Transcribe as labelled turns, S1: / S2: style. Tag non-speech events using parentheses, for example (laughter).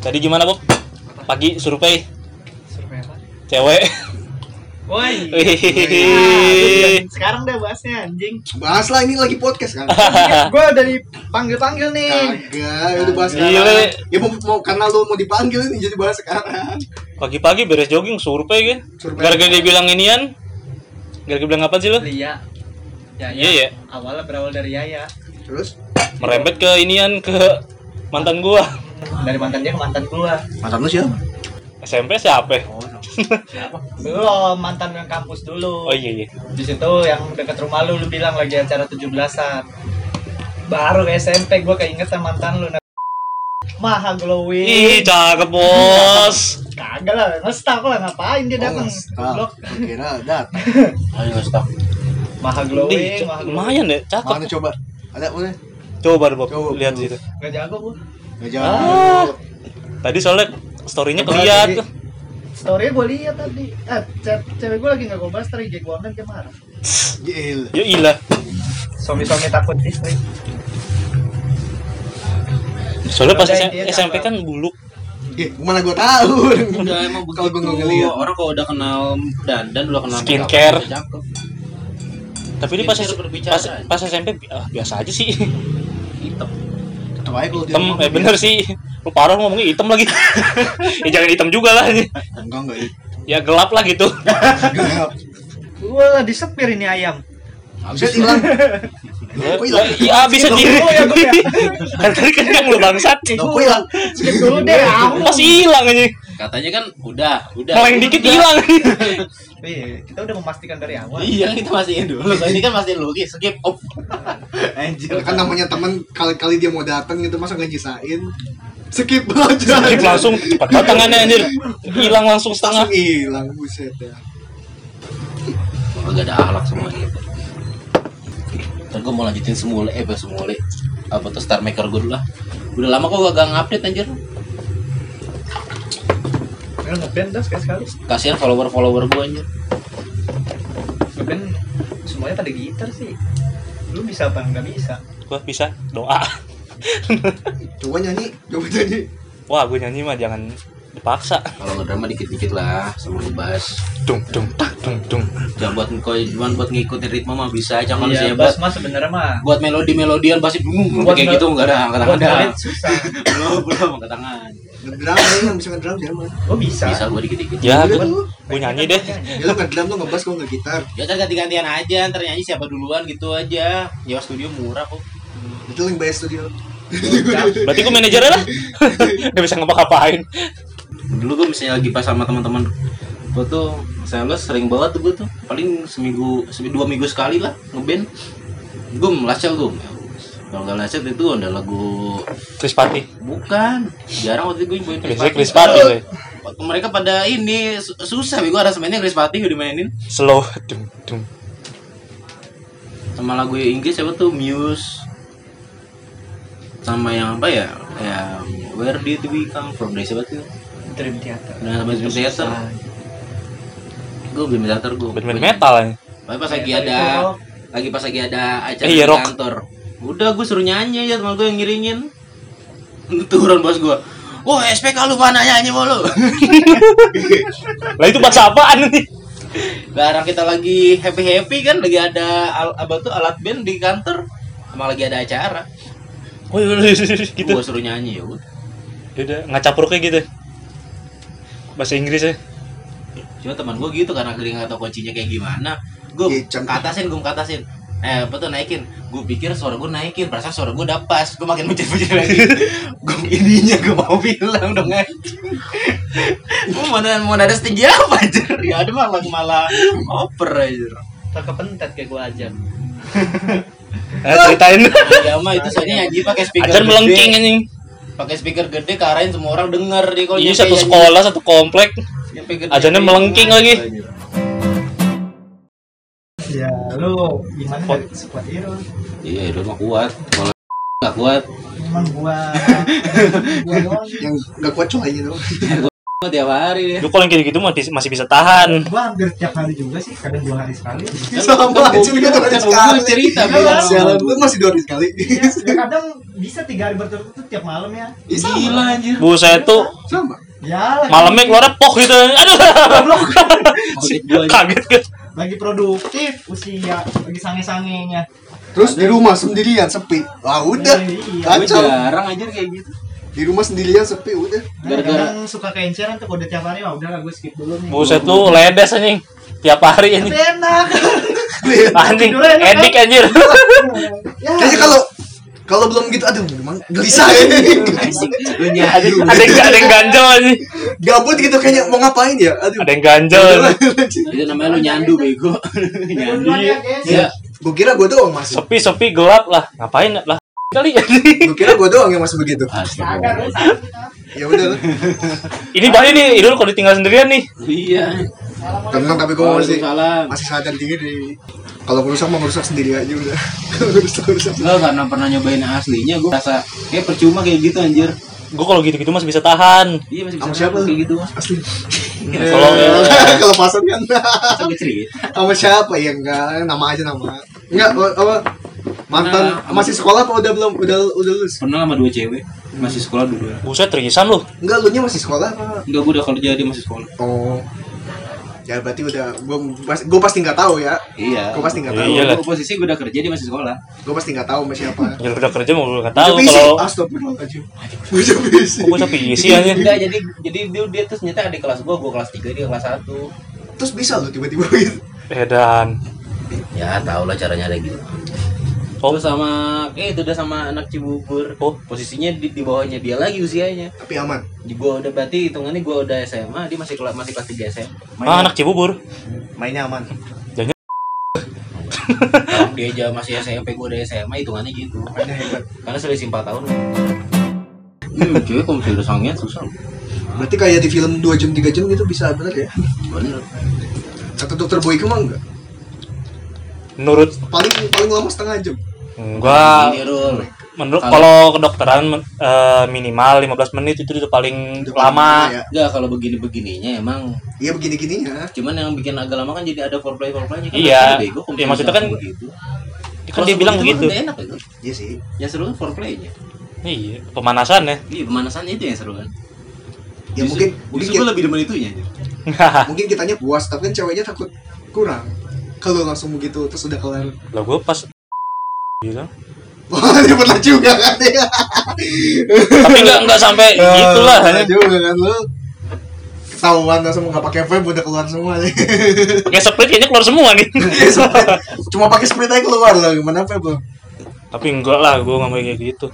S1: tadi gimana Bob? Pagi survei
S2: Survei apa?
S1: cewek.
S2: (laughs) Woi.
S1: Wih.
S2: sekarang dah bahasnya anjing.
S3: Bahas lah ini lagi podcast kan.
S2: Gue dari panggil-panggil nih.
S3: Kagak, udah bahas
S1: Gile.
S3: sekarang. Ya mau, mau karena lu mau dipanggil nih jadi bahas sekarang.
S1: (laughs) Pagi-pagi beres jogging survei kan?
S3: Survei.
S1: Gara-gara dia bilang inian. Gara-gara bilang apa sih lo?
S2: Lia. Ya,
S1: Iya, ya.
S2: Awalnya berawal dari Yaya.
S3: Terus
S1: Merembet ke inian ke mantan gua.
S2: Dari mantan dia ke mantan gua.
S3: mantan lu siapa?
S1: SMP siapa? ya?
S3: Oh, no.
S2: Belum, mantan yang kampus dulu.
S1: Oh iya iya.
S2: Di situ yang dekat rumah lu lu bilang lagi acara 17-an. Baru ke SMP gua keingetan mantan lu. nah. Maha glowing.
S1: Ih, cakep bos.
S2: Kagak lah, ngestak lah ngapain dia Iya, datang.
S3: Oh,
S2: Blok.
S3: Kira datang.
S1: Ayo stop.
S2: Maha
S1: Ih,
S2: glowing,
S1: ca-
S2: maha glowing.
S1: lumayan ya, cakep.
S3: Mana coba? Ada boleh?
S1: Coba deh, Bob,
S3: Coba,
S1: lihat
S3: coba.
S1: situ.
S2: Gak jago gua.
S3: Gak
S1: Ah.
S3: jauh.
S1: Tadi soalnya story-nya
S3: Coba
S1: keliat
S3: lagi.
S1: tuh.
S2: Story gue lihat tadi. Eh, ce- cewek gue lagi nggak gue bahas tadi gue online dia marah.
S3: Gil.
S1: Ya ilah.
S2: Suami-suami takut istri.
S1: Soalnya pas
S2: Udah,
S1: S-
S2: intinya
S1: SMP
S2: cakep.
S1: kan buluk.
S3: Ih, mana gua tahu.
S4: udah emang begitu
S3: Kalau gua nggak ngeliat.
S4: Gitu. orang kalau udah kenal dan dan udah kenal
S1: Skincare.
S4: udah cakep.
S1: Tapi dia pas,
S4: Dia suruh berbicara.
S1: pas, pas SMP bi- ah, biasa aja sih. (laughs)
S4: hitam
S3: Tetep aja kalau dia
S1: Hitam,
S3: ngomong. gitu.
S1: eh bener sih. Lu parah lu ngomongnya hitam lagi. (laughs) ya jangan hitam juga lah.
S3: Enggak enggak. iya.
S1: Ya gelap lah gitu.
S3: Gelap.
S2: Wah, disepir ini ayam.
S3: Bisa hilang.
S1: Ya,
S2: Oh, iya.
S3: Kok hilang?
S1: ya habis sendiri.
S2: dulu ya, gua ya.
S1: (laughs) Kan Tadi kenyang lu bangsat.
S2: Eh, gua
S3: Loh, kok hilang?
S2: skip dulu deh.
S1: Iya,
S2: ah.
S1: Pas hilang aja.
S4: katanya kan udah udah
S1: Meleng dikit hilang.
S2: Iya, kita udah memastikan dari awal.
S4: iya kita mastiin dulu Kalau ini kan mastiin dulu Oke, skip Oh, off anjir
S3: kan namanya teman kali-kali dia mau datang gitu masa nggak nyisain skip aja
S1: Skip langsung cepat banget tangannya anjir. Hilang langsung setengah.
S3: langsung hilang buset ya
S4: gak ada akhlak semua gitu ntar gue mau lanjutin semule eh pas semule apa tuh star maker gue dulu lah udah lama kok gak ngupdate anjir
S2: Kalau kan ngeband dah sekali sekali.
S4: kasihan follower follower gue anjir
S2: Ngeband semuanya pada gitar sih. Lu bisa apa nggak bisa?
S1: Gua bisa doa.
S3: coba nyanyi coba nyanyi
S1: Wah, gua nyanyi mah jangan dipaksa.
S4: kalau ngedrama dikit dikit lah sama ngebahas
S1: Dung dung tak dung dung.
S4: jangan buat kau cuman buat ngikutin ritme mah bisa aja kalau
S2: Iya,
S4: saya
S2: bas
S4: buat
S2: mas sebenarnya mah.
S4: buat melodi melodian pasti bingung
S2: Buat
S4: kayak
S2: mel-
S4: gitu nggak ada angkat
S2: Buat
S4: tangan
S2: kalian susah.
S4: belum belum angkat tangan
S3: ngedram ya yang bisa ngedram siapa
S2: Gue bisa.
S4: bisa gue dikit dikit
S1: Ya,
S3: Boleh
S1: gua,
S3: lu.
S1: gua nyanyi deh.
S3: ya lu ngedram tuh ngebass kok nggak gitar
S4: ya ntar ganti gantian aja ntar nyanyi siapa duluan gitu aja nyewa studio murah kok
S3: itu yang bayar studio
S1: Berarti gua manajernya lah. (laughs) Gak bisa ngapa-ngapain.
S4: dulu gue misalnya lagi pas sama teman-teman gue tuh misalnya lo sering banget tuh gue tuh paling seminggu se- dua minggu sekali lah ngeband gue melacel tuh kalau nggak lacel itu ada lagu
S1: Krispati.
S4: bukan jarang waktu itu gue
S1: Biasanya Krispati loh.
S4: mereka pada ini su- susah gue aransemennya Chris Pati gue dimainin
S1: Slow. Dung dung.
S4: sama lagu Inggris apa tuh Muse sama yang apa ya ya Where Did We Come From dari siapa tuh
S2: Dream Theater.
S4: nah sama Dream Theater
S2: Ah,
S4: gue Dream Theater gue
S1: Bermain metal ya.
S4: tapi pas lagi
S2: Metal
S4: ada
S2: itu rock.
S4: lagi pas lagi ada acara
S1: Iya,
S4: di
S1: rock.
S4: kantor udah gue suruh nyanyi aja teman gue yang ngiringin (laughs) turun bos Oh, gue Wah, SPK lu mana nyanyi mulu? (laughs)
S1: Lah itu bahasa apaan nih?
S4: Sekarang kita lagi happy-happy kan, lagi ada al apa tuh alat band di kantor. Emang lagi ada acara.
S1: Woi, woi, woi, woi, gitu.
S4: Gue suruh nyanyi ya udah.
S1: Dia udah ngacapruknya gitu. Bahasa ya. Eh, Inggrisnya.
S4: cuma teman gue gitu karena dia nggak tahu kuncinya kayak gimana gue
S3: Iya, cem-
S4: katasin gue katasin eh apa tuh naikin gue pikir suara gue naikin perasaan suara gue udah pas gue makin mencet mencet
S3: (laughs)
S4: lagi gue ininya gue mau bilang dong anjing gue mau nada mau nada setinggi apa aja ya ada malah malah oper aja
S2: Terkepentet kayak gue aja.
S1: Eh, ceritain.
S4: ya mah itu soalnya nyanyi pakai speaker
S1: (laughs) Ajar melengking
S4: gede
S1: anjing.
S4: pakai speaker gede ke arahin semua orang denger di kalau
S1: Iya
S4: nyampe
S1: satu
S4: nyanyi.
S1: sekolah, satu komplek.
S4: Nyampe gede.
S1: Ajarnya melengking lagi.
S2: Ya, lu gimana dari sekuat Iron?
S4: iya dulu mah kuat kalau (laughs) nggak kuat
S2: Cuman gua gua doang.
S3: gitu. yang nggak kuat cuma aja tuh
S4: Gua tiap hari dia.
S1: Lu kalau yang kayak gitu mah bis- masih bisa tahan.
S5: Gua hampir tiap hari juga sih, kadang dua hari sekali.
S3: (laughs) Sama
S4: Kan- kan
S3: aja,
S4: gua-
S3: lu kan
S4: kan
S3: harus
S4: gua
S3: sekali.
S4: cerita,
S5: Iya,
S4: Bel.
S5: kan?
S3: Sialan, lu masih dua hari
S4: (laughs)
S3: sekali.
S5: Iya, ya kadang bisa tiga hari berturut-turut tiap malam ya.
S3: Ih, sama.
S4: Gila anjir.
S1: Bu saya tuh
S3: Sama.
S5: Ya, lagi,
S1: malamnya keluar poh gitu. Aduh. (laughs) Kaget kan.
S5: lagi produktif usia, lagi sange-sangenya. Nah,
S3: Terus di rumah sendirian sepi. Wah udah.
S5: Eh, iya.
S4: Gua
S3: Kacau.
S4: jarang anjir kayak gitu.
S3: Di rumah sendirian sepi udah. (laughs)
S5: Nah,
S4: Gara-gara
S5: kadang suka keenceran tuh kode tiap hari, wah udah lah gue skip dulu nih.
S1: Bu saya tuh ledes anjing. Tiap hari
S5: Tapi
S1: anjing.
S5: enak.
S1: Anjing, edik anjir.
S5: ya,
S3: Kayaknya kalau kalau belum gitu aduh memang gelisah ini.
S4: Asik, gua nyari.
S1: (laughs) Ada yang ada yang ganjel anjing.
S3: Gabut gitu kayaknya mau ngapain ya? Aduh.
S1: Ada yang ganjel.
S3: Iya.
S4: Itu namanya lu nyandu bego. (laughs) nyandu.
S5: duluan ya, guys.
S4: Iya.
S3: Gue kira gue doang masih.
S1: Sepi-sepi gelap lah. Ngapain lah? Kali anjing.
S3: Gue kira gue doang yang masih begitu.
S5: Kagak
S4: Astagfirullah.
S5: lu sakit kita.
S3: Ya udah. lah.
S1: Ini bahaya nih, Idul kalau ditinggal sendirian nih.
S4: Iya.
S3: Tenang tapi gue masih
S4: Waalaikumsalam.
S3: masih sadar diri. Kalau ngerusak mau ngerusak sendiri aja udah. (laughs) Kalau ngerusak ngerusak.
S4: Enggak karena pernah nyobain yang aslinya gua rasa kayak percuma kayak gitu anjir.
S1: Gue kalau gitu-gitu masih bisa tahan.
S4: Iya masih bisa
S3: Sama siapa?
S4: kayak gitu. Mas. Iya.
S3: Asli. Eh,
S1: Tolong ya.
S3: (laughs) Kalau pasar kan.
S4: Sampai cerita.
S3: sama siapa ya enggak nama aja nama enggak o- apa mantan
S4: Nah,
S3: masih sekolah apa udah belum udah udah lulus
S4: Pernah sama dua cewek masih sekolah dulu.
S1: Buset terisan lu.
S3: enggak lu nya masih sekolah apa
S4: Enggak gua udah kerja dia masih sekolah.
S3: oh ya berarti udah gua gua pasti nggak tahu ya
S4: Iya.
S3: gua pasti nggak tahu
S1: Iya lah.
S4: Gua posisi gua udah kerja dia masih sekolah.
S3: gua pasti nggak tahu sama
S1: (laughs)
S3: siapa
S1: Ya udah kerja mau gue nggak tahu
S3: Bocah
S1: kalau
S3: PC. astagfirullahaladzim Bocah PC.
S1: kok bocah PC anjir.
S4: Enggak jadi jadi dia dia terus ternyata ada kelas gua, gua kelas 3, dia kelas 1.
S3: terus bisa lo tiba-tiba gitu
S1: Edan.
S4: Ya, tau lah caranya ada gitu.
S1: Oh.
S4: Terus sama eh itu udah sama anak Cibubur.
S1: Oh.
S4: posisinya di, di bawahnya dia lagi usianya.
S3: tapi aman
S4: Di gua udah berarti hitungannya gua udah SMA, dia masih kelas masih kelas 3 SMA.
S1: Ah, anak Cibubur.
S3: mainnya aman
S4: Kalau dia aja masih SMP, gua udah SMA, hitungannya gitu.
S3: mainnya hebat
S4: Karena selisih 4 tahun. Hmm, cuy, kalau misalnya udah sangean susah.
S3: berarti kayak di film 2 jam 3 jam gitu bisa bener ya
S4: Bener.
S3: kata dokter Boyke mah enggak
S1: Menurut
S3: paling paling lama setengah jam
S1: gua
S4: Ini rul.
S1: menurut kalau
S4: Kalau-
S1: kedokteran men- eh, minimal 15 menit itu udah paling
S3: Udah
S1: lama.
S3: ya
S4: Enggak kalau begini-begininya emang
S3: iya begini-gininya
S4: cuman yang bikin agak lama kan jadi ada foreplay foreplaynya kan
S1: Iya.
S4: Rasanya bego, kalau
S1: Iya, maksudnya kan-
S4: gitu.
S1: Kan dia bilang
S4: begitu
S1: begitu.
S4: kan enak itu
S3: iya sih
S4: yang seru kan foreplaynya
S1: Iya, pemanasan ya. (laughs)
S4: iya pemanasan itu yang seru kan
S3: ya
S4: Justru-
S3: mungkin mungkin ya-
S4: justru gue lebih demen itunya anjir.
S3: mungkin kitanya puas tapi kan ceweknya takut kurang kalau langsung begitu terus udah kelar
S1: Lah gua pas Iya. bilang.
S3: wah (laughs) dia pernah juga kan ya
S1: Tapi enggak enggak sampai
S3: Nah.
S1: gitulah.
S3: Pernah juga kan lu ketahuan langsung nggak pakai vape udah keluar semua (laughs) nih
S1: Kayak split kayaknya keluar semua nih. (laughs)
S3: cuma pakai spray aja keluar loh gimana vape lo
S1: Tapi enggak lah gua enggak mau kayak gitu.